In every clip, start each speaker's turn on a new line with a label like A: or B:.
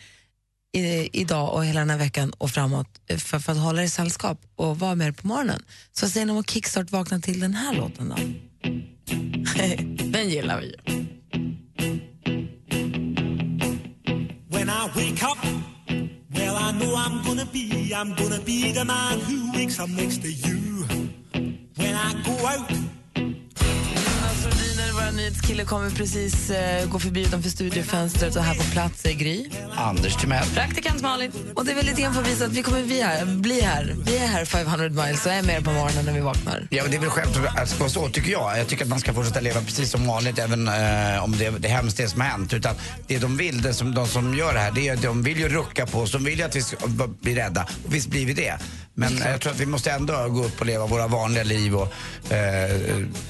A: i, idag och hela den här veckan och framåt eh, för, för att hålla er i sällskap och vara med er på morgonen. Så vad säger ni om att kickstart-vakna till den här låten då? den gillar vi ju.
B: When I wake up, well, I know I'm gonna be, I'm gonna be the man who wakes up next to you. When I go out,
A: Jonas Rhodiner, vår nyhetskille, kommer precis eh, gå förbi utanför studiofönstret och här på plats är Gry.
C: Anders Timell.
D: Praktikant Malin.
A: Och det är väl lite grann för att visa att vi kommer vi här, bli här. Vi är här 500 miles och är med er på morgonen när vi vaknar.
C: Ja, men det är väl självklart att vara så, tycker jag. Jag tycker att man ska fortsätta leva precis som vanligt, även eh, om det, det är hemskt det som har hänt. Utan det de vill, det som, de som gör det här, det är att de vill ju rucka på oss. De vill ju att vi ska b- bli rädda. Och visst blir vi det. Men eh, jag tror att vi måste ändå gå upp och leva våra vanliga liv och, eh,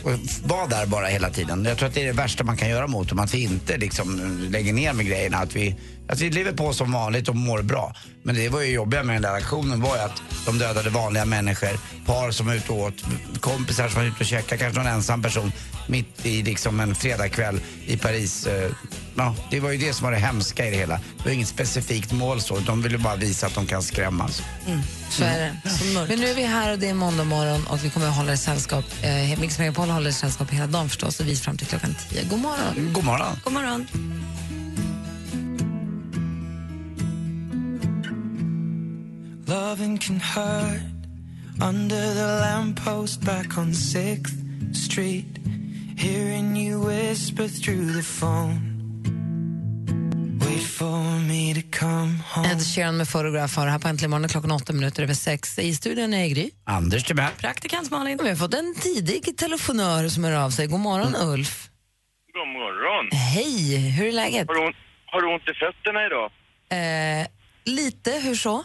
C: och f- vara där bara hela tiden. Jag tror att det är det värsta man kan göra mot dem, att vi inte liksom lägger ner med grejerna. Att vi, att vi lever på Alltså, som vanligt och mår bra. Men det var ju jobbiga med den där aktionen var ju att de dödade vanliga människor, par som var ute och åt, kompisar som var ute och käkade, kanske någon ensam person mitt i liksom en fredagkväll i Paris. Eh, Ja, det var ju det som var det hemska i det hela. Det var inget specifikt mål så, de ville bara visa att de kan skrämmas.
A: Så är det. Men nu är vi här och det är måndag morgon och vi kommer att hålla er sällskap. Eh, Mix Megapol håller er sällskap hela dagen förstås och vi fram till klockan 10. God morgon!
C: God morgon.
D: God morgon.
E: Loving can hurt under the lamppost back on 6th Street. Hearing you whisper through the phone. Wait for me to come home.
A: Ed Sheeran med Photograph har det här på Äntligen morgon klockan 8 minuter över 6. I studion är Gry.
C: Anders Timell.
D: Praktikant Malin.
A: Och Vi har fått en tidig telefonör som hör av sig. God morgon
D: Mm.
A: Ulf!
F: God morgon.
A: Hej! Hur är läget?
F: Har du, ont, har du ont i fötterna idag?
A: Eh, lite, hur så?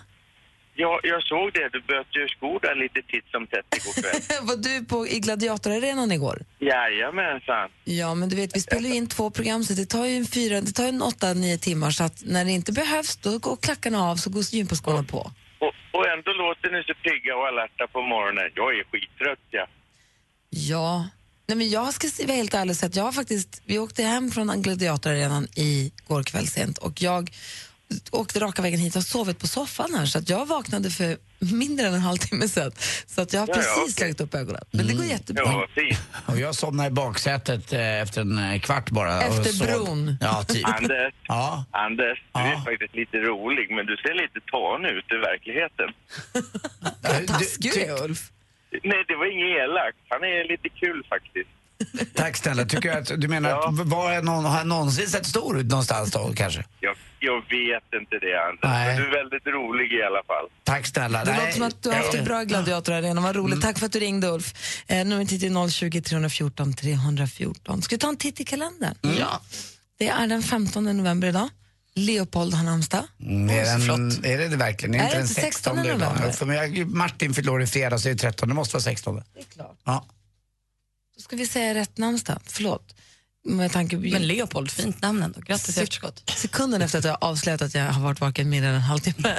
F: Ja, jag såg det. Du böt ju skor där lite titt som tätt igår kväll.
A: Var du på, i Gladiatorarenan igår?
F: Jajamensan.
A: Ja, men du vet, vi spelar ju in två program så det tar ju en fyra, det tar ju en åtta, nio timmar så att när det inte behövs då går klackarna av så går gympaskorna på.
F: Och, och ändå låter ni så pigga och alerta på morgonen. Jag är skittrött, ja.
A: Ja. Nej, men jag ska se- vara helt ärlig och säga att jag har faktiskt, vi åkte hem från Gladiatorarenan igår kväll sent och jag åkte raka vägen hit och sovit på soffan här så att jag vaknade för mindre än en halvtimme sedan. Så att jag har
F: Ja, ja,
A: precis
F: okej.
A: slagit upp ögonen. Men det går jättebra.
F: Ja, fint.
C: Och jag somnade i baksätet eh, efter en eh, kvart bara. och
A: Efter
C: sov.
A: bron.
C: Ja, typ.
F: Anders,
C: Ja.
F: Anders, du
C: Ja.
F: är faktiskt lite rolig, men du ser lite tan ut i verkligheten.
C: Du-
A: Taskig du är, Ulf.
F: Nej, det var inget elakt. Han är lite kul faktiskt.
C: Tack snälla. Tycker jag att, du menar
F: Ja.
C: att var jag någon, har jag någonsin sett stor ut någonstans då kanske?
F: Jag, jag vet inte det, Anders.
C: Nej.
F: Men du är väldigt rolig i alla fall.
C: Tack snälla.
A: Det
C: Nej.
A: låter som att du har haft en bra gladiatorarena. Vad roligt. Tack för att du ringde, Ulf. Eh, numret hit är 020 314 314. Ska vi ta en titt i kalendern? Ja. Det är den 15 november idag. Leopold har namnsdag.
C: Mm, Är,
A: Åh, så flott.
C: den, är det det verkligen?
A: Är
C: inte
A: det
C: den
A: inte
C: 16
A: 16
C: idag?
A: november?
C: För mig, Martin fyller år i fredag så det är 13. Det måste vara 16.
A: Det är klart.
C: Ja.
A: Då ska vi säga rätt namnsdag. Förlåt. Med tanke på...
D: Men Leopold, fint namn ändå. Grattis i efterskott.
A: Sekunden efter att jag avslöjat att jag har varit vaken mindre än en halvtimme.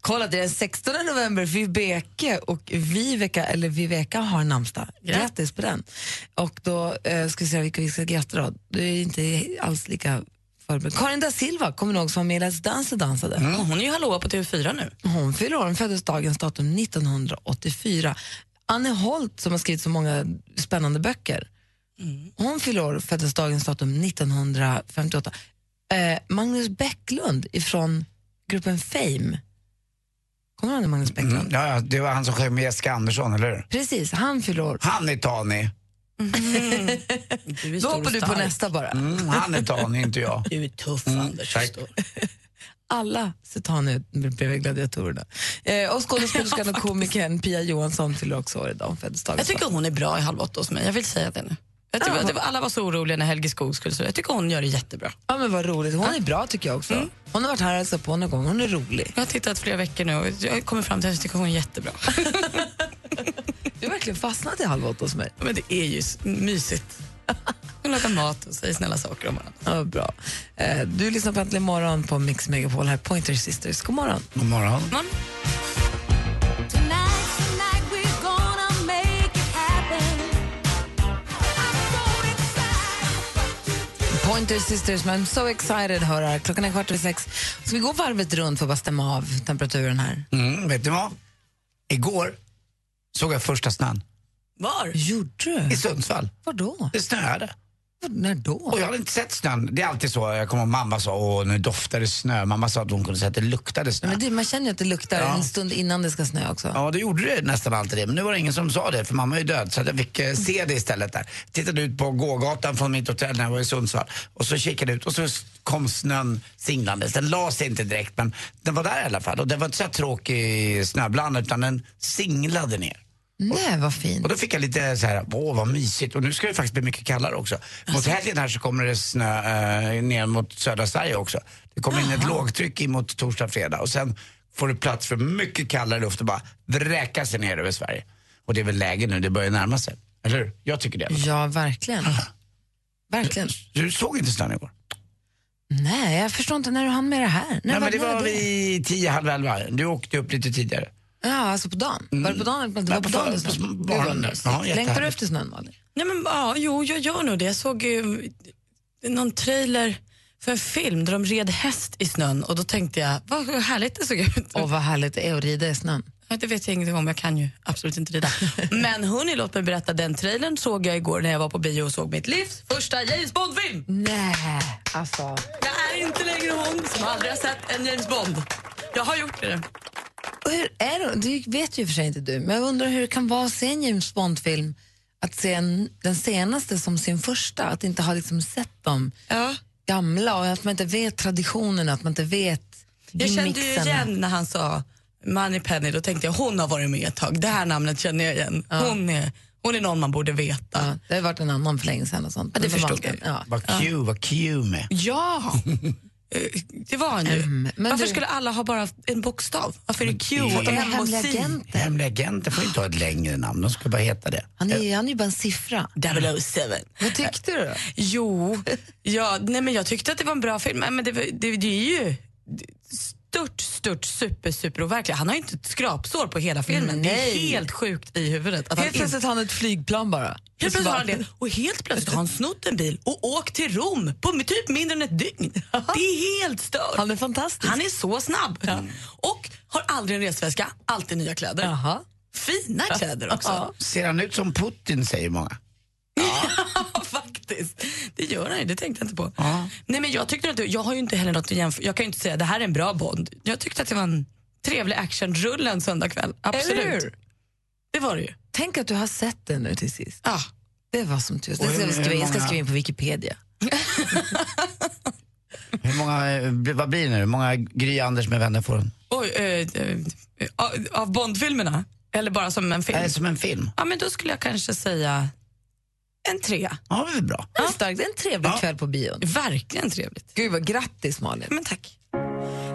A: Kolla, det är den 16 november. Vibeke och Viveka, eller Viveka har namnsdag. Grattis på den. Och då eh, ska vi se vilka vi ska gratta då. Det är inte alls lika förebild. Karin da Silva, kommer ni ihåg, som var med i Let's Dance och dansade?
D: Hon är ju hallåa på TV4 nu.
A: Hon fyller år, hon föddes dagens datum 1984. Anne Holt som har skrivit så många spännande böcker, hon fyller år, föddes dagens datum 1958. Eh, Magnus Bäcklund ifrån gruppen Fame, kommer du ihåg Magnus Bäcklund?
C: Mm, ja, ja, det var han som sjöng med Jessica Andersson, eller hur?
A: Precis, han fyller år.
C: Han är Tani.
A: Då hoppar du på nästa bara.
C: Mm, han är Tani, inte jag.
A: Du är tuff,
B: Mm.
C: Anders. Tack.
A: alla Cetane bredvid gladiatorerna. Eh, och skådespelerskan och komikern Pia Johansson fyller också år idag. Hon föddes dagens
D: Jag tycker hon är bra i halv åtta hos mig. Jag vill säga det nu. Jag tycker,
A: Ja.
D: att det var- alla var så oroliga när Helge Skog skulle så. Jag tycker hon gör det jättebra. Mm.
A: Ja, men vad roligt. Hon är bra tycker jag också. Hon har varit här och hälsat på någon gång. Hon är rolig.
D: Jag har tittat flera veckor nu och jag kommer fram till att jag tycker hon är jättebra.
A: Du har verkligen fastnat i Halv åtta hos mig.
D: Men det är ju s- mysigt. Hon lagar mat och säger snälla saker om varandra.
A: Ja, bra. Eh, du lyssnar på Äntligen morgon på Mix Megapol här, Pointer Sisters. God morgon.
C: God morgon.
D: Man,
A: Pointer Sisters med I'm so excited hör här. Klockan är kvart över sex. Ska vi gå varvet runt för att bara stämma av temperaturen här?
C: Mm, vet du vad? Igår såg jag första snön
D: var?
A: Gjorde du?
C: i Sundsvall.
A: Var då?
C: Det snöade.
A: När då?
C: Och jag hade inte sett snön. Det är alltid så. Jag kommer ihåg mamma sa åh nu doftar det snö. Mamma sa att hon kunde säga att det luktade snö.
A: Men det, man känner ju att det luktar
C: Ja.
A: en stund innan det ska snöa också.
C: Ja, det gjorde det nästan alltid det. Men nu var det ingen som sa det, för mamma är ju död. Så att jag fick eh, se det istället där. Tittade ut på gågatan från mitt hotell när jag var i Sundsvall. Och så kikade jag ut och så s- kom snön singlandes. Den la sig inte direkt, men den var där i alla fall. Och den var inte så här tråkig snöbland, utan den singlade ner.
A: Nej, vad fint.
C: Och då fick jag lite så här, åh vad mysigt. Och nu ska det faktiskt bli mycket kallare också. Mot helgen här så kommer det snö eh, ner mot södra Sverige också. Det kommer in ett lågtryck in mot torsdag, fredag. Och sen får det plats för mycket kallare luft och bara vräka sig ner över Sverige. Och det är väl läge nu, det börjar närma sig. Eller hur? Jag tycker det.
A: Ja, verkligen. Verkligen.
C: Du såg inte snön igår?
A: Nej, jag förstår inte när du hann med det här. När
C: Nej, men det
A: när
C: var vid tio, halv elva. Du åkte upp lite tidigare.
A: Ja, alltså på dagen. Var det på dagen? Det var på
C: Nej, på
A: dagen det
C: för-
A: snöade.
C: på
A: Det var
C: morgonen.
A: mysigt.
C: Ja,
A: Längtar du
C: jättehärligt. Mm.
A: efter snön, Malin?
D: Nej, men, ja, jo, jag gör nog det. Jag såg ju någon trailer för en film där de red häst i snön och då tänkte jag, vad härligt det såg ut.
A: Åh, vad härligt det är att rida i snön.
D: Ja, Det vet jag ingenting om, jag kan ju absolut inte rida. Men hörni, låt mig berätta, den trailern såg jag igår när jag var på bio och såg mitt livs första James Bond-film.
A: Nej, alltså.
D: Jag är inte längre hon som aldrig har sett en James Bond. Jag har gjort det.
A: Och Hur är det? Du vet ju i och för sig inte du, men jag undrar hur det kan vara att se en James Bond-film, att se en, den senaste som sin första, att inte ha liksom sett dem
D: Ja.
A: gamla och att man inte vet traditionen, att man inte vet
D: Jag kände ju
A: gimmixen.
D: igen när han sa Moneypenny, då tänkte jag hon har varit med ett tag. Det här namnet känner jag igen. Hon, är, hon är någon man borde veta.
A: Ja, det har ju varit en annan för länge sedan och sånt.
D: Ja, det
A: Men
D: förstod
A: var-
D: jag ju.
A: Ja.
C: Vad Q, vad Q med.
D: Ja! Eh, Det var han ju.
A: Mm, men
D: Varför
A: du-
D: skulle alla ha bara en bokstav? Varför är det Q
C: Men
D: och
C: det är
D: M och
A: hemliga
D: C?
A: agent.
C: Hemliga agenter får ju inte ha ett längre namn. De skulle bara heta det.
A: Han är, han är ju bara en siffra.
D: 007.
A: Vad tyckte du då?
D: Jo, ja, nej men jag tyckte att det var en bra film. Nej, Men det, var- det, det är ju stört, stört, super, super overklig. Han har ju inte ett skrapsår på hela filmen. Det är
A: Nej.
D: helt sjukt i huvudet. Att han
A: Helt
D: inte-
A: plötsligt har han ett flygplan bara.
D: Helt plötsligt har han det. Och helt plötsligt har han snott en bil och åkt till Rom på typ mindre än ett dygn. Det är helt stört.
A: Han är fantastisk.
D: Han är så snabb. Och har aldrig en resväska, alltid nya kläder.
A: Jaha.
D: Fina kläder också.
C: Ser han ut som Putin, säger många.
D: Ja, faktiskt. Det gör han ju, det tänkte jag inte på. Nej, men jag, tyckte att, det- jag har ju inte heller något att jämföra. Jag kan ju inte säga det här är en bra Bond. Jag tyckte att det var en trevlig actionrulle en söndagkväll.
A: Eller
D: Absolut.
A: hur?
D: Det var det ju.
A: Tänk att du har sett den nu till sist.
D: Ja.
A: Det var som tur. Det
C: Och
A: ska vi
C: hur-
A: skriva in. Jag ska
C: hur många-
A: skriva in på Wikipedia.
C: Hur många, eh, vad blir det nu? Hur många Gry Anders med vänner får hon?
D: Oj, eh, eh, av- av Bondfilmerna? Eller bara som en film?
C: Äh, som en film.
D: Ja, men då skulle jag kanske säga en trea.
C: Ja, det är bra.
A: Det är starkt. Det är en trevlig
C: Ja.
A: kväll på bion.
D: Verkligen trevligt.
A: Gud vad grattis Malin.
D: Men tack.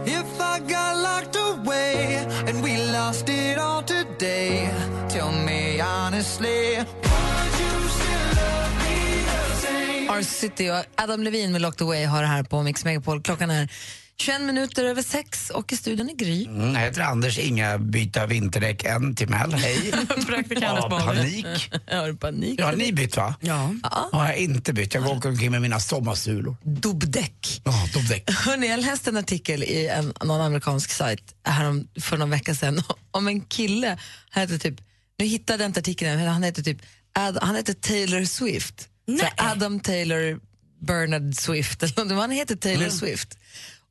G: If I got locked away and we lost it all today, tell me honestly.
A: Our City och Adam Levin med Locked Away har det här på Mix Megapol. Klockan är 21 minuter över sex och i studion är Gry.
C: Mm, jag heter Anders, inga byta vinterdäck än till Mell. Hej.
A: Praktikant
C: Ja,
A: Malin.
C: panik.
A: Har du panik?
C: Ja, har ni bytt va?
D: Ja.
C: Har jag inte bytt. Jag går omkring med mina sommarsulor.
A: Dubbdäck.
C: Ja, dubbdäck.
A: Hörrni, jag läste en artikel i en, någon amerikansk sajt härom, för någon vecka sedan om en kille. Han heter typ, nu hittade jag inte artikeln, än, men han heter typ Ad, han heter Taylor Swift. Så Adam Taylor Bernard Swift. eller någonting, men Han heter Taylor
C: Mm.
A: Swift.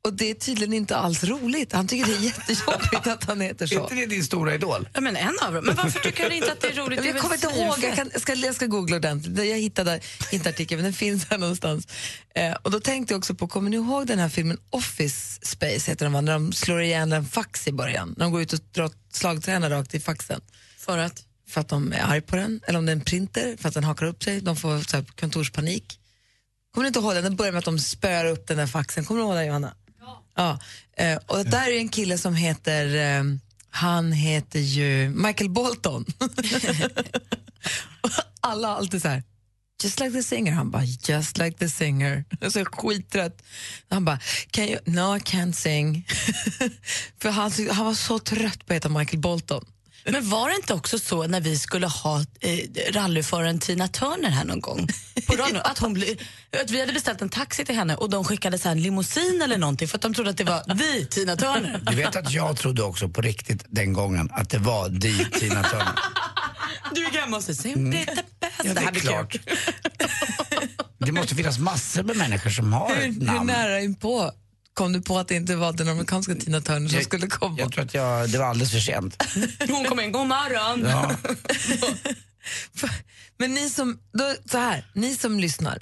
A: Och det är tydligen inte alls roligt. Han tycker det är jättejobbigt att han heter
C: Är
A: så.
C: inte det din stora idol?
D: Ja, men en av dem. Men varför tycker han inte att det är roligt?
A: Men
D: Det är
A: jag
D: väl
A: kommer inte
D: svinfett.
A: ihåg, jag, kan, jag, ska, jag ska googla ordentligt. Jag hittade inte artikeln, men den finns här någonstans. Eh, och då tänkte jag också på, kommer ni ihåg den här filmen Office Space, heter den, va? när de slår igen en fax i början? När de går ut och drar slagträna rakt i faxen.
D: För att?
A: För att de är arg på den, eller om det är en printer, för att den hakar upp sig. De får så här, kontorspanik. Kommer ni inte ihåg den? Den börjar med att de spöar upp den där faxen. Kommer du ihåg den, Johanna? Ja. Eh, och där är en kille som heter, eh, han heter ju Michael Bolton. Och Alla alltid så här, just like the singer. Han bara, just like the singer. Jag är Så skittrött. Han bara, can you, no I can't sing. För han, tyckte- han var så trött på att heta Michael Bolton.
D: Men var det inte också så när vi skulle ha eh, rallyföraren Tina Turner här någon gång? På radion, att, hon bli, att vi hade beställt en taxi till henne och de skickade så här en limousin eller någonting för att de trodde att det var vi, Tina Turner.
C: Du vet att jag trodde också på riktigt den gången att det var di Tina Turner.
D: Du är gammal så simply the best.
C: Mm. Ja, det är
D: blir
C: klart. Det måste finnas massor med människor som har ett
A: Hur, hur
C: namn.
A: nära inpå kom du på att det inte var den amerikanska Tina Turner som skulle komma?
C: Jag tror att jag, det var alldeles för sent.
D: kul. Hon kom in, god morgon.
C: Ja.
A: Men ni som, då, så här, ni som lyssnar,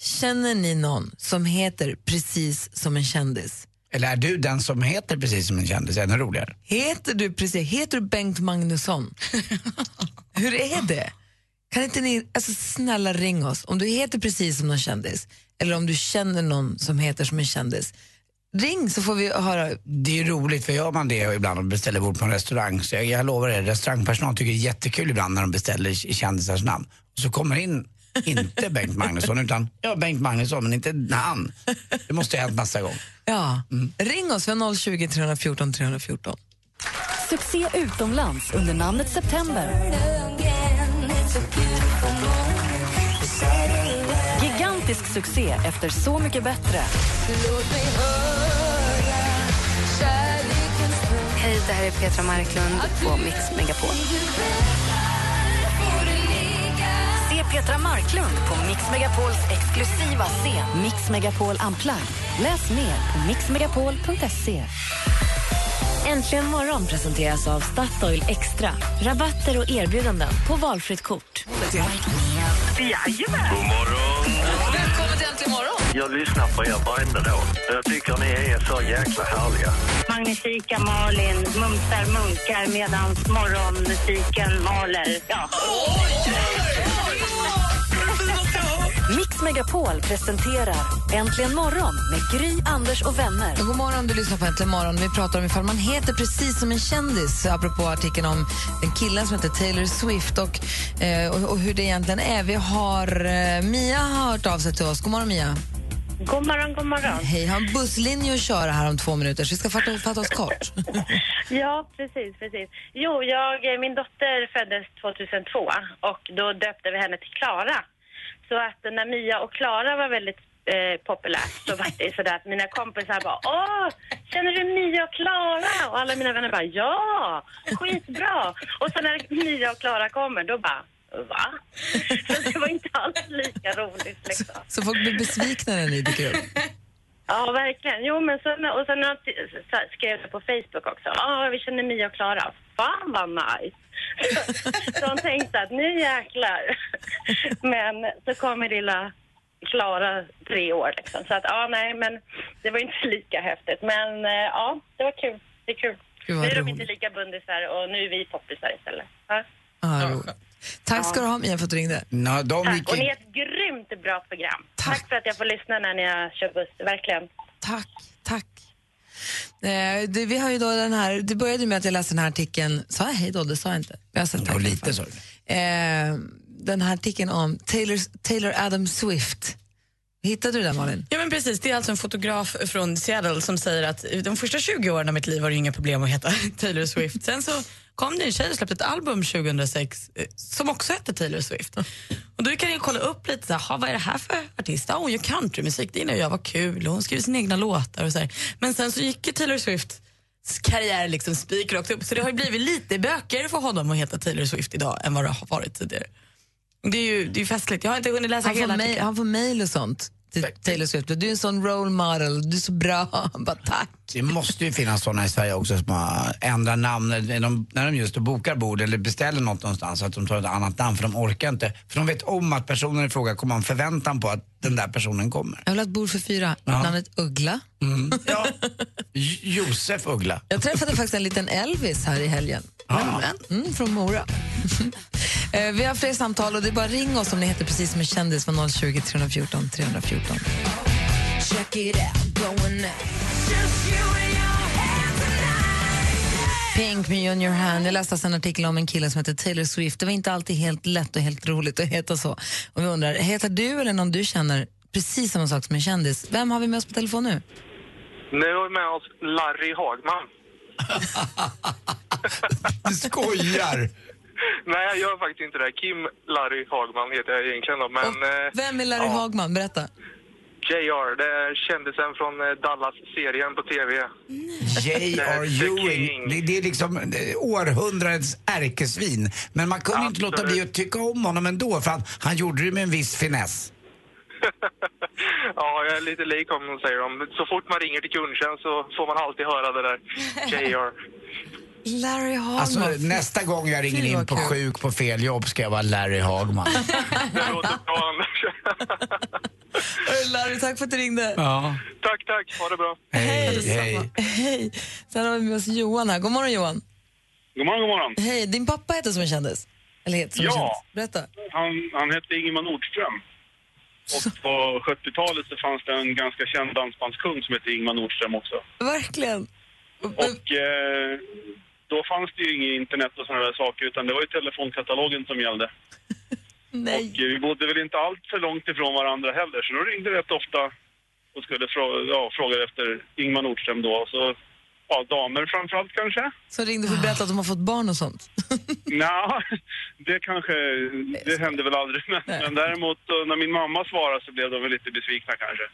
A: känner ni någon som heter precis som en kändis?
C: Eller är du den som heter precis som en kändis? Ännu roligare.
A: Heter du precis, heter du Bengt Magnusson? Hur är det? Kan inte ni, alltså snälla ring oss om du heter precis som någon kändis eller om du känner någon som heter som en kändis. Ring så får vi höra
C: Det är ju roligt, för gör man det ibland och beställer bord på en restaurang, så jag, jag lovar er, restaurangpersonal tycker det är jättekul ibland när de beställer k- kändisars namn. Och så kommer in, inte Bengt Magnusson, utan ja, Bengt Magnusson, men inte namn. Det måste ha hänt massa gånger.
A: Ja,
C: Mm.
A: ring oss. Vi har 020 314 314.
H: Succé utomlands under namnet September. Gigantisk succé efter Så mycket bättre.
I: Hej, det här är Petra Marklund på Mix Megapol.
H: Se Petra Marklund på Mix Megapols exklusiva scen Mix Megapol Unplugged. Läs mer på mixmegapol.se. Äntligen morgon presenteras av Statoil Extra. Rabatter och erbjudanden på valfritt kort.
J: Jajamän! God morgon!
A: Välkommen till Äntligen morgon!
J: Jag lyssnar på er varenda dag. Jag tycker ni är så jäkla härliga.
K: Magnifika Malin mumsar munkar medan morgonmusiken maler. Ja.
H: Mix Megapol presenterar Äntligen morgon med Gry, Anders och vänner.
A: God morgon, du lyssnar på Äntligen morgon. Vi pratar om ifall man heter precis som en kändis apropå artikeln om den killen som heter Taylor Swift och, eh, och, och hur det egentligen är. Vi har eh, Mia har hört av sig till oss. God morgon, Mia.
K: God morgon, god morgon.
A: Hej, har en busslinje att köra här om två minuter så vi ska fatta, fatta oss kort.
K: Ja, precis, precis. Jo, jag, eh, min dotter föddes 2002 och då döpte vi henne till Klara. Så att när Mia och Klara var väldigt eh, populärt så var det sådär att mina kompisar bara Åh, känner du Mia och Klara? Och alla mina vänner bara Ja, skitbra! Och så när Mia och Klara kommer då bara Va? Så det var inte alls lika roligt liksom.
A: Så folk blir besvikna när ni dyker upp.
K: Ja, verkligen. Jo, men sen, och sen har jag t- så här, skrev jag på Facebook också. Ja, vi känner Mia och Klara. Fan vad nice! så de tänkte att nu jäklar. men så kommer lilla Klara, tre år liksom. Så att ja, nej, men det var inte lika häftigt. Men eh, ja, det var kul. Det är kul.
A: Gud,
K: Nu
A: vad
K: är de
A: roligt.
K: inte lika bundisar och nu är vi poppisar istället. Ja.
A: Ah, roligt. Tack ska du ha, Mia, för att du ringde.
C: No,
K: Tack, och ni är ett grymt bra program. Tack. för att jag får lyssna när ni kör buss, verkligen.
A: Tack, tack. Eh, det, vi har ju då den här, det började ju med att jag läste den här artikeln, sa jag hej då? Det sa jag inte. Jag har sett tack, lite
C: så.
A: Eh, den här artikeln om Taylor, Taylor Adam Swift. Hittade du den Malin?
D: Ja men precis, det är alltså en fotograf från Seattle som säger att de första 20 åren av mitt liv var det inga problem att heta Taylor Swift. Sen så kom det en tjej och släppte ett album
A: Alltså,
D: 2006 eh, som också hette Taylor Swift. Och då kan jag kolla upp lite, så här, "Ha, vad är det här för artist? Ja, hon gör countrymusik, det gillar jag, vad kul. Och hon skriver sina egna låtar och så här. Men sen så gick ju Taylor Swift karriär liksom spikrakt upp. Så det har ju blivit lite bökigare för honom att heta Taylor Swift idag än vad det har varit tidigare. Det är ju det är ju festligt. Jag har inte hunnit läsa
A: Han får,
D: hela
A: mail, han får mail och sånt till Taylor Swift. Du är en sån role model, du är så bra. Han Bara, tack.
C: Det måste ju finnas sådana i Sverige också som har ändrat namn när de, när de just bokar bord eller beställer något någonstans. Att de tar ett annat namn för de orkar inte. För de vet om att personen i fråga kommer ha en förväntan på att den där personen kommer.
A: Jag vill ha ett bord för fyra.
C: Ja. Mm.
A: Namnet Uggla.
C: J- Josef Uggla.
A: Jag träffade faktiskt en liten Elvis här i helgen. Men, mm, från Mora. Eh, Vi har fler samtal och det är bara ring oss om ni heter precis som en kändis på 020 314 314.
L: Check it out, going out.
A: Pink med Junior Hand. Jag läste alltså en artikel om en kille som heter Taylor Swift. Det var inte alltid helt lätt och helt roligt att heta så. Och vi undrar, heter du eller någon du känner precis samma sak som en kändis? Vem har vi med oss på telefon nu?
M: Nu har vi med oss Larry Hagman.
C: du skojar!
M: Nej, jag gör faktiskt inte det. Kim Larry Hagman heter jag egentligen då, men... eh,
A: Vem är Larry
M: ja,
A: Hagman? Berätta.
M: JR, det är kändisen från eh, Dallas-serien på TV.
C: J.R. Ewing. Det, det är liksom eh, århundradets ärkesvin. Men man kunde ju inte låta bli att tycka om honom ändå för han, han gjorde det med en viss finess.
M: Ja, jag är lite lik honom, säger de. Så fort man ringer till kundtjänst så får man alltid höra det där. JR.
A: Larry Hagman.
C: Alltså nästa gång jag ringer
M: Fy, vad
C: in på
M: kul.
C: sjuk på fel jobb ska jag vara Larry Hagman.
M: Det låter bra, Anders.
A: Larry, tack för att du ringde.
C: Ja.
M: Tack, tack. Ha det bra.
C: Hej, hej.
A: Hej. Sen har vi med oss Johan här. God morgon Johan.
N: God morgon, god morgon.
A: Hej, din pappa heter som en kändis. Eller heter som en
N: Ja,
A: kändis. Berätta.
N: han, han hette Ingemar Nordström. Och på 70-talet så fanns det en ganska känd dansbandskung som hette Ingemar Nordström också.
A: Verkligen.
N: Och eh, då fanns det ju inget internet och sådana där saker utan det var ju telefonkatalogen som gällde.
A: Nej.
N: Och eh, vi bodde väl inte allt för långt ifrån varandra heller så då ringde det rätt ofta och skulle frå- ja, fråga efter Ingemar Nordström då. Så, ja, damer framförallt kanske.
A: Så ringde för att berätta att de har fått barn och sånt.
N: Nej, det kanske, det hände väl aldrig. Men, men däremot eh, när min mamma svarade så blev de väl lite besvikna kanske.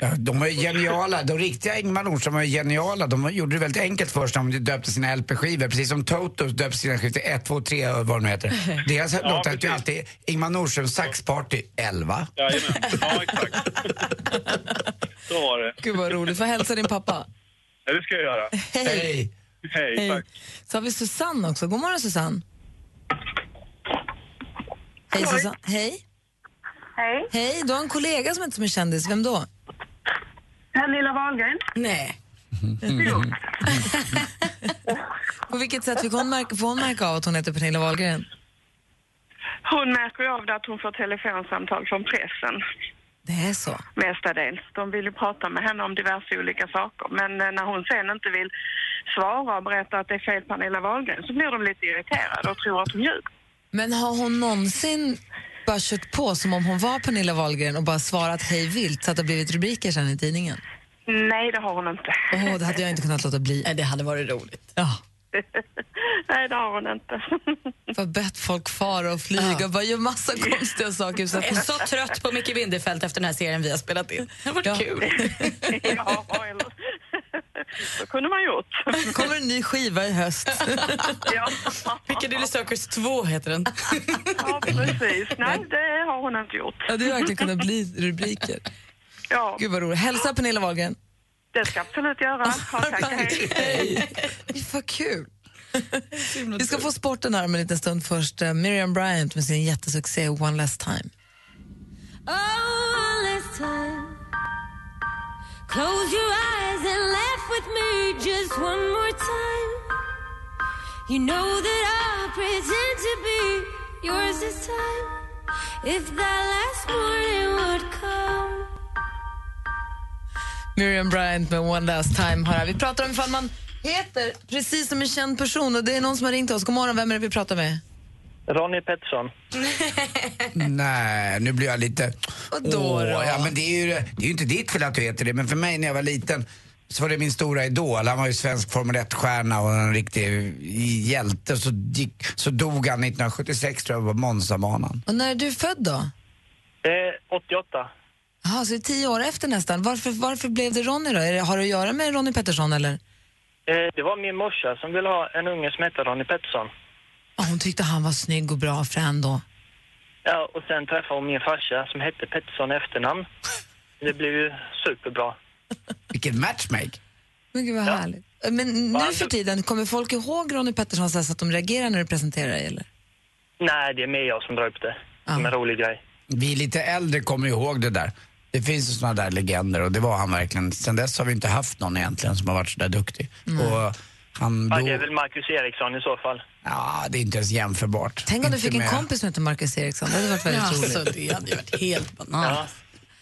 C: Ja, de var ju geniala. De riktiga Ingmar Nordström var ju geniala. De gjorde det väldigt enkelt först när de döpte sina LP-skivor. Precis som Toto döpte sina skivor till 1, 2, 3 och vad de nu heter. alltså Deras
N: Ja,
C: låtar hette
N: precis.
C: ju alltid Ingmar Nordström Saxparty 11.
N: Jajamän, ja exakt. Så var det.
A: Gud vad roligt. Får jag hälsa din pappa.
N: Ja, det ska jag göra.
A: Hej.
N: Hej, tack.
A: Så har vi Susanne också. God morgon Susanne. Hej Susanne. Hej.
O: Hej.
A: Hej, du har en kollega som inte är som en kändis. Vem då?
O: Pernilla Wahlgren.
A: Nej. På vilket sätt fick hon märka, får hon märka av att hon heter Pernilla Wahlgren?
O: Hon märker ju av det att hon får telefonsamtal från pressen
A: Det är så.
O: mestadels. De vill ju prata med henne om diverse olika saker. Men eh, när hon sen inte vill svara och berätta att det är fel Pernilla Wahlgren så blir de lite irriterade och tror att hon ljuger.
A: Men har hon någonsin bara kört på som om hon var Pernilla Wahlgren och bara svarat hej vilt så att det har blivit rubriker sen i tidningen?
O: Nej, det har hon inte.
A: Åh, det hade jag inte kunnat låta bli. Nej, det hade varit roligt. Ja.
O: Nej, det har hon inte.
A: Bara bett folk fara och flyga och bara gör massa konstiga saker. Så
D: Jag
A: att
D: är så trött på Micke Winderfeldt efter den här serien vi har spelat in. Det har varit kul.
O: Så kunde man gjort.
A: kommer en ny skiva i höst.
O: ja.
D: Piccadilly Circus 2 heter den.
O: ja, precis. Nej, det har hon inte gjort.
A: Ja, det hade verkligen kunnat bli rubriker.
O: Ja.
A: Gud vad roligt. Hälsa Pernilla Wahlgren.
O: Det ska jag absolut göra. Ja, tack. Hej.
A: Vad kul. Vi ska få sporten här om en liten stund först. Eh, Miriam Bryant med sin jättesuccé One Last Time.
L: Oh, last time. Close your eyes and laugh with me just one more time. You know that I'll pretend to be yours this time. If that last morning would come.
A: Miriam Bryant med One Last Time. Har här. Vi pratar om ifall man heter precis som en känd person. Och det är någon som har ringt oss. God morgon, vem är det vi pratar med?
P: Ronny Pettersson.
C: Nej, nu blir jag lite... Vadå
P: då?
C: Ja, men det är, ju, det är ju inte ditt fel att du heter det, men för mig när jag var liten så var det min stora idol. Han var ju svensk Formel 1-stjärna och en riktig hjälte. Så, gick, så dog han 1976 tror jag, på Monza-banan.
A: Och när är du född då?
P: Eh, 88.
A: Jaha, så det är tio år efter nästan. Varför, varför blev det Ronny då? Är det, har det att göra med Ronny Pettersson eller?
P: Eh, det var min morsa som ville ha en unge som hette Ronny Pettersson.
A: Ja, hon tyckte han var snygg och bra frän då.
P: Ja, och sen träffade hon min farsa som hette Pettersson i efternamn. Det blev ju superbra.
C: Vilken matchmake!
A: Men gud vad härligt. Men nu för tiden, kommer folk ihåg Ronny Pettersson så här så att de reagerar när du presenterar dig eller?
P: Nej, det är mer jag som drar upp det. Som en rolig grej.
C: Vi lite äldre kommer ihåg det där. Det finns ju såna där legender och det var han verkligen. Sen dess har vi inte haft någon egentligen som har varit så där duktig. Och han
P: Ja, det är
C: dog...
P: väl Marcus Eriksson i så fall.
C: Ja, det är inte ens jämförbart.
A: Tänk om du
C: Inte
A: fick en
C: med-
A: kompis som hette Marcus Eriksson, det hade varit väldigt
P: Ja,
A: roligt.
P: alltså, det
D: hade ju varit helt
P: Ja.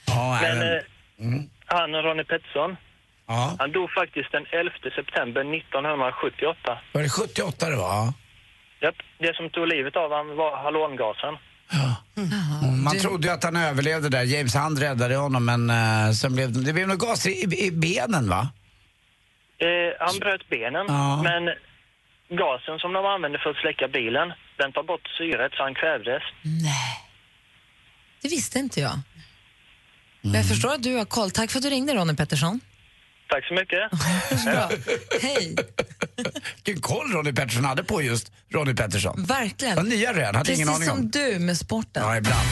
C: Ja,
P: Men
C: även-
P: eh, han och Ronny Pettersson,
C: ja.
P: han dog faktiskt den 11 september 1978.
C: Var det 78 det var? Ja.
P: Japp, det som tog livet av honom var halongasen.
C: Mm, Man trodde ju att han överlevde där. James Hunt räddade honom men eh, sen blev det, det blev nog gas i, i benen va?
P: Eh, han bröt benen,
C: Ja.
P: men gasen som de använde för att släcka bilen, den tar bort syret så han kvävdes.
A: Det visste inte jag. Men
C: Mm.
A: jag förstår att du har koll. Tack för att du ringde Ronny Pettersson.
P: Tack så mycket.
A: Bra. Hej.
C: Vilken koll Ronny Pettersson hade på just Ronny Pettersson.
A: Verkligen.
C: Vad nya rön, hade
A: Precis
C: ingen aning
A: som
C: om.
A: du med sporten.
C: Ja, ibland.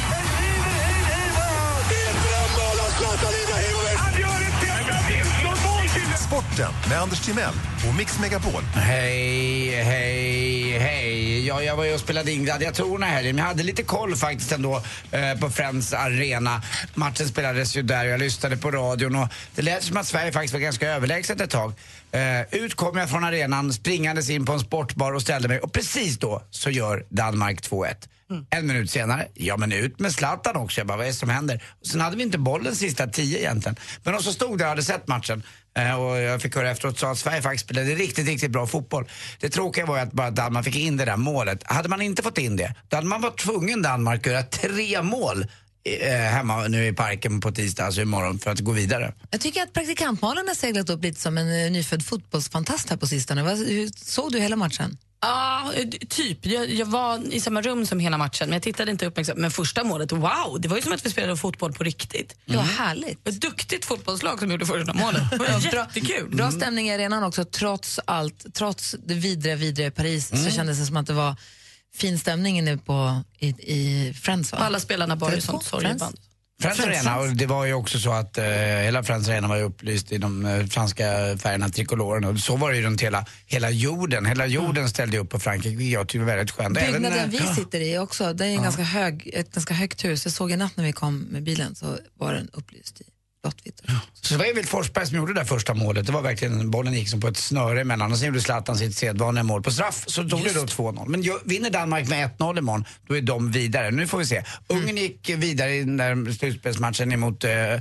Q: Sporten med Anders Timell och Mix Megapol.
C: Hej, hej, hej. Ja, jag var ju och spelade in Gladiatorerna i helgen, men jag hade lite koll faktiskt ändå eh, på Friends Arena. Matchen spelades ju där och jag lyssnade på radion och det lät som att Sverige faktiskt var ganska överlägset ett tag. Eh, ut kom jag från arenan, springandes in på en sportbar och ställde mig och precis då så gör Danmark 2-1. En minut senare, ja men ut med Zlatan också. Jag bara, vad är det som händer? Och sen hade vi inte bollen sista tio egentligen. Men de som stod där och hade sett matchen eh, och jag fick höra efteråt sa att Sverige faktiskt spelade riktigt, riktigt bra fotboll. Det tråkiga var ju att bara Danmark fick in det där målet. Hade man inte fått in det, då hade man varit tvungen Danmark att göra tre mål eh, hemma nu i parken på tisdag, alltså imorgon, för att gå vidare.
A: Jag tycker att praktikant-Malin har seglat upp lite som en eh, nyfödd fotbollsfantast här på sistone. Vad- hur- Såg du hela matchen?
D: Ja, eh, typ. Jag, jag var i samma rum som hela matchen, men jag tittade inte uppmärksamt. Men första målet, wow! Det var ju som att vi spelade fotboll på riktigt.
A: Det
C: Mm.
A: var härligt.
D: Ett duktigt fotbollslag som gjorde första målet. Det var Mm. jättekul.
A: Bra stämning i arenan också, trots allt. Trots det vidriga, vidriga i Paris
C: Mm.
A: så kändes det som att det var fin stämning inne på, i, i Friends. Va?
D: Alla spelarna bar ju sånt sorgeband.
C: Friends
D: Friends.
C: Arena, och det var ju också så att eh, hela Friends Arena var ju upplyst i de eh, franska färgerna, trikolorerna. Och så var det ju runt hela, hela jorden. Hela jorden ställde upp på Frankrike, vilket jag tyckte var väldigt skönt. Även,
A: Byggnaden
C: eh,
A: vi sitter i också, det är en
C: Ja.
A: ganska hög, ett ganska högt hus. Jag såg i natt när vi kom med bilen så var den upplyst i.
C: Så det var ju Emil Forsberg som gjorde det där första målet. Det var verkligen, bollen gick som på ett snöre emellan och sen gjorde Zlatan sitt sedvanliga mål på straff. Så tog det då 2-0. Men ju- vinner Danmark med 1-0 imorgon, då är de vidare. Nu får vi se. Ungern gick vidare i den där slutspelsmatchen emot eh, eh,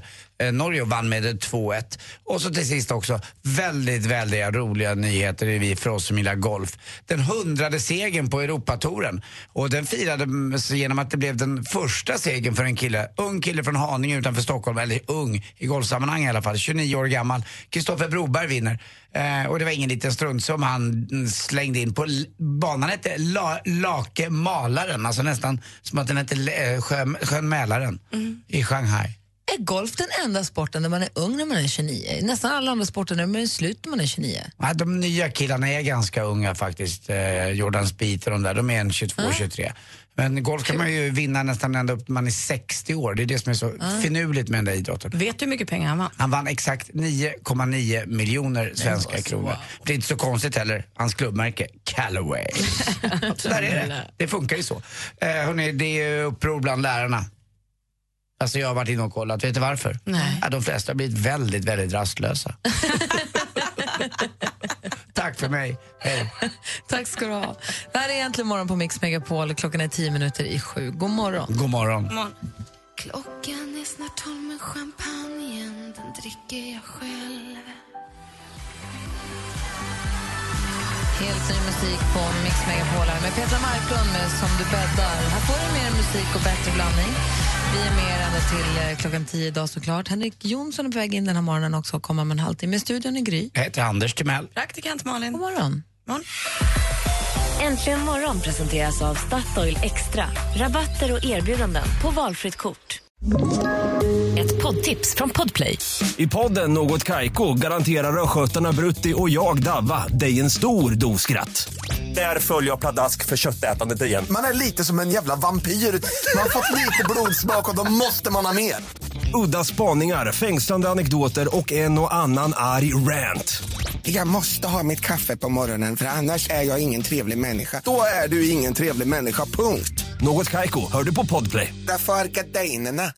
C: Norge och vann med 2-1. Och så till sist också, väldigt, väldigt roliga nyheter är vi för oss som gillar golf. Den hundrade segern på Europatouren. Och den firades genom att det blev den första segern för en kille, ung kille från Haninge utanför Stockholm, eller ung i golfsammanhang i alla fall, 29 år gammal. Kristoffer Broberg vinner. Eh, och det var ingen liten strunt som han mm, slängde in på l- banan hette La- Lake Malaren, alltså nästan som att den hette Le- eh, Sjö- Sjön Mälaren i Shanghai.
A: Är golf den enda sporten där man är ung när man är 29? I Nästan alla andra sporter där man är slut när man är 29.
C: Ja, de nya killarna är ganska unga faktiskt. Eh, Jordan Spieth och de där, de är en 22-23. Men golf kan man ju vinna nästan ända upp till man är 60 år. Det är det som är så finurligt med den där idrotten.
D: Vet du hur mycket pengar han vann?
C: Han vann exakt 9,9 miljoner svenska kronor. Det är inte så konstigt heller. Hans klubbmärke, Callaway. så där är det. Det funkar ju så. Eh, hörni, det är ju uppror bland lärarna. Alltså jag har varit inne och kollat. Vet du varför?
D: Nej.
C: Ja, de flesta har blivit väldigt, väldigt rastlösa. Tack för mig. Hej.
A: Tack ska du ha. Det här är Äntligen morgon på Mix Megapol. Klockan är tio minuter i sju. God morgon.
C: God morgon.
I: Klockan är snart tolv men champagnen den dricker jag själv
A: Helt ny musik på Mix Megapol här med Petra Marklund med Som du bäddar. Här får du mer musik och bättre blandning. Vi är med er ända till eh, klockan tio idag såklart. Henrik Jonsson är på väg in den här morgonen också och kommer om en halvtimme. I studion i Gry.
C: Jag heter Anders Timell.
D: Praktikant Malin.
A: God morgon.
H: Äntligen morgon presenteras av Statoil Extra. Rabatter och erbjudanden på valfritt kort. Ett poddtips från Podplay.
R: I podden Något Kaiko garanterar östgötarna Brutti och jag, Davva, dig en stor dos skratt. Där följer jag pladask för köttätandet igen.
S: Man är lite som en jävla vampyr. Man har fått lite blodsmak och då måste man ha mer.
R: Udda spaningar, fängslande anekdoter och en och annan arg rant.
T: Jag måste ha mitt kaffe på morgonen för annars är jag ingen trevlig människa.
S: Då är du ingen trevlig människa, punkt.
R: Något Kaiko, hör du på Podplay.
T: Därför arkadeinerna.